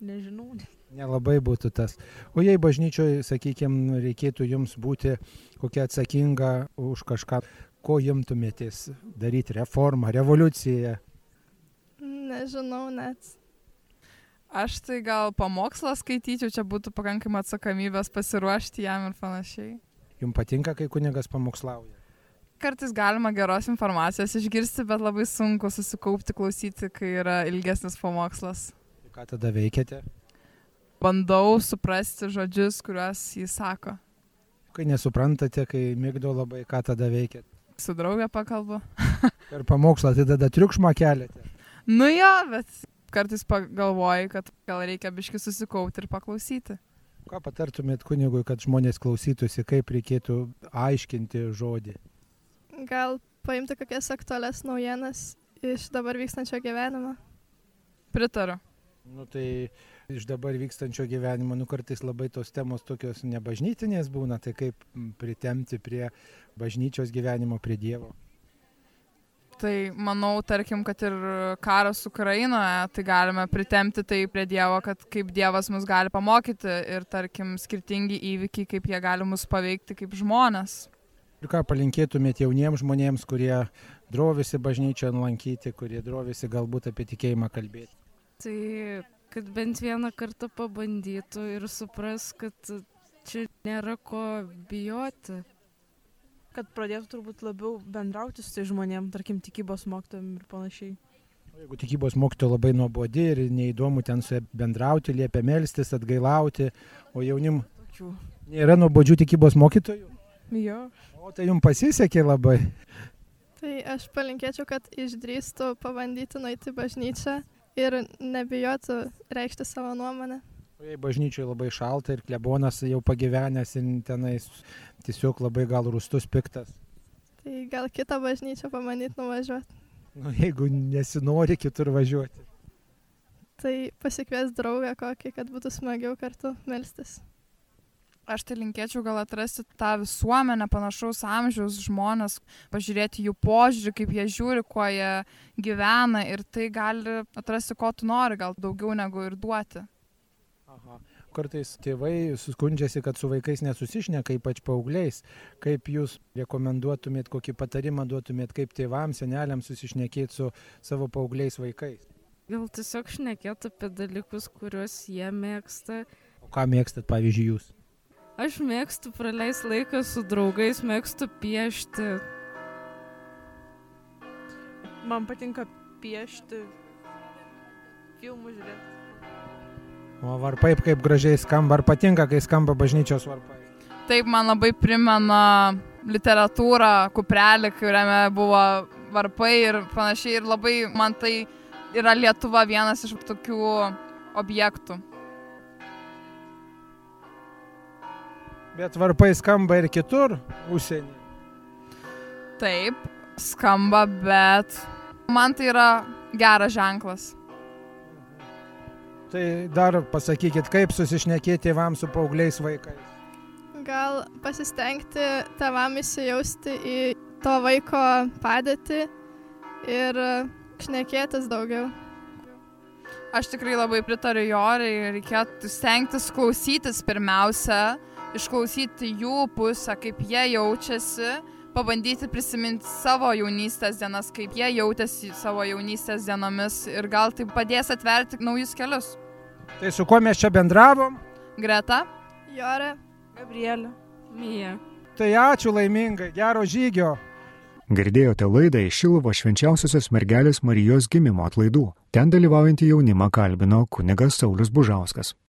Nežinau.
Nelabai būtų tas. O jei bažnyčioje, sakykime, reikėtų jums būti kokia atsakinga už kažką, ko imtumėtės daryti reformą, revoliuciją,
Nežinau net.
Aš tai gal pamokslą skaityčiau, čia būtų pakankamai atsakomybės pasiruošti jam ir panašiai.
jums patinka, kai kunigas pamokslauja.
Kartais galima geros informacijos išgirsti, bet labai sunku susikaupti klausyti, kai yra ilgesnis pamokslas.
Ką tada veikiate?
Bandau suprasti žodžius, kuriuos jis sako.
Kai nesuprantate, kai mygdo labai, ką tada veikiate?
Su draugė pakalbu.
Per pamokslą tai tada triukšmą keliate.
nu jo, bet kartais pagalvoju, kad gal reikia biški susikaupti ir paklausyti.
Ką patartumėt kunigui, kad žmonės klausytųsi, kaip reikėtų aiškinti žodį?
Gal paimti kokias aktualias naujienas iš dabar vykstančio gyvenimo.
Pritariu.
Nu tai iš dabar vykstančio gyvenimo, nu kartais labai tos temos tokios nebažnytinės būna, tai kaip m, pritemti prie bažnyčios gyvenimo, prie Dievo.
Tai manau, tarkim, kad ir karas Ukrainoje, tai galime pritemti tai prie Dievo, kad kaip Dievas mus gali pamokyti ir, tarkim, skirtingi įvykiai, kaip jie gali mus paveikti kaip žmonės.
Ir ką palinkėtumėt jauniems žmonėms, kurie drovisi bažnyčią lankyti, kurie drovisi galbūt apie tikėjimą kalbėti.
Tai kad bent vieną kartą pabandytų ir supras, kad čia nėra ko bijoti.
Kad pradėtų turbūt labiau bendrauti su tai žmonėm, tarkim, tikybos mokytojim ir panašiai.
Jeigu tikybos mokytoja labai nuobodi ir neįdomu ten su ja bendrauti, liepia melstis, atgailauti, o jaunim
Tokių.
nėra nuobodžių tikybos mokytojų,
Jo.
o tai jums pasisekė labai.
Tai aš palinkėčiau, kad išdrįstų pabandyti nueiti į bažnyčią ir nebijotų reikšti savo nuomonę.
O jei bažnyčioje labai šalta ir klebonas jau pagyvenęs ir tenais tiesiog labai gal rustus, piktas.
Tai gal kitą bažnyčią pamanyt nuvažiuoti.
Nu, jeigu nesinori kitur važiuoti.
Tai pasikvies draugą kokį, kad būtų smagiau kartu melstis.
Aš tai linkėčiau gal atrasti tą visuomenę, panašaus amžiaus žmonės, pažiūrėti jų požiūrį, kaip jie žiūri, kuo jie gyvena ir tai gali atrasti, ko tu nori, gal daugiau negu ir duoti.
Aha. Kartais tėvai suskundžiasi, kad su vaikais nesusišneka, ypač paaugliais. Kaip jūs rekomenduotumėt, kokį patarimą duotumėt, kaip tėvams, seneliams susišnekėti su savo paaugliais vaikais?
Gal tiesiog šnekėtų apie dalykus, kuriuos jie mėgsta.
O ką mėgstat, pavyzdžiui, jūs?
Aš mėgstu praleisti laiką su draugais, mėgstu piešti.
Man patinka piešti, filmų žiūrėti.
O varpai kaip gražiai skamba, ar patinka, kai skamba bažnyčios varpai?
Taip man labai primena literatūrą, kuprelį, kuriame buvo varpai ir panašiai. Ir labai man tai yra Lietuva vienas iš tokių objektų.
Bet varpai skamba ir kitur, užsienį.
Taip, skamba, bet man tai yra geras ženklas.
Tai dar pasakykit, kaip susišnekėti tėvams su paaugliais vaikais.
Gal pasistengti tavam įsijausti į to vaiko padėtį ir šnekėtis daugiau.
Aš tikrai labai pritariu Jorai, reikėtų stengtis klausytis pirmiausia, išklausyti jų pusę, kaip jie jaučiasi, pabandyti prisiminti savo jaunystės dienas, kaip jie jautėsi savo jaunystės dienomis ir gal tai padės atverti naujus kelius.
Tai su kuo mes čia bendravom?
Greta,
Jore,
Gabrielė,
Mija.
Tai ačiū laimingai, gero žygio.
Girdėjote laidą iš Šilvo švenčiausiosios mergelės Marijos gimimo atlaidų. Ten dalyvaujantį jaunimą kalbino kunigas Saulis Bužauskas.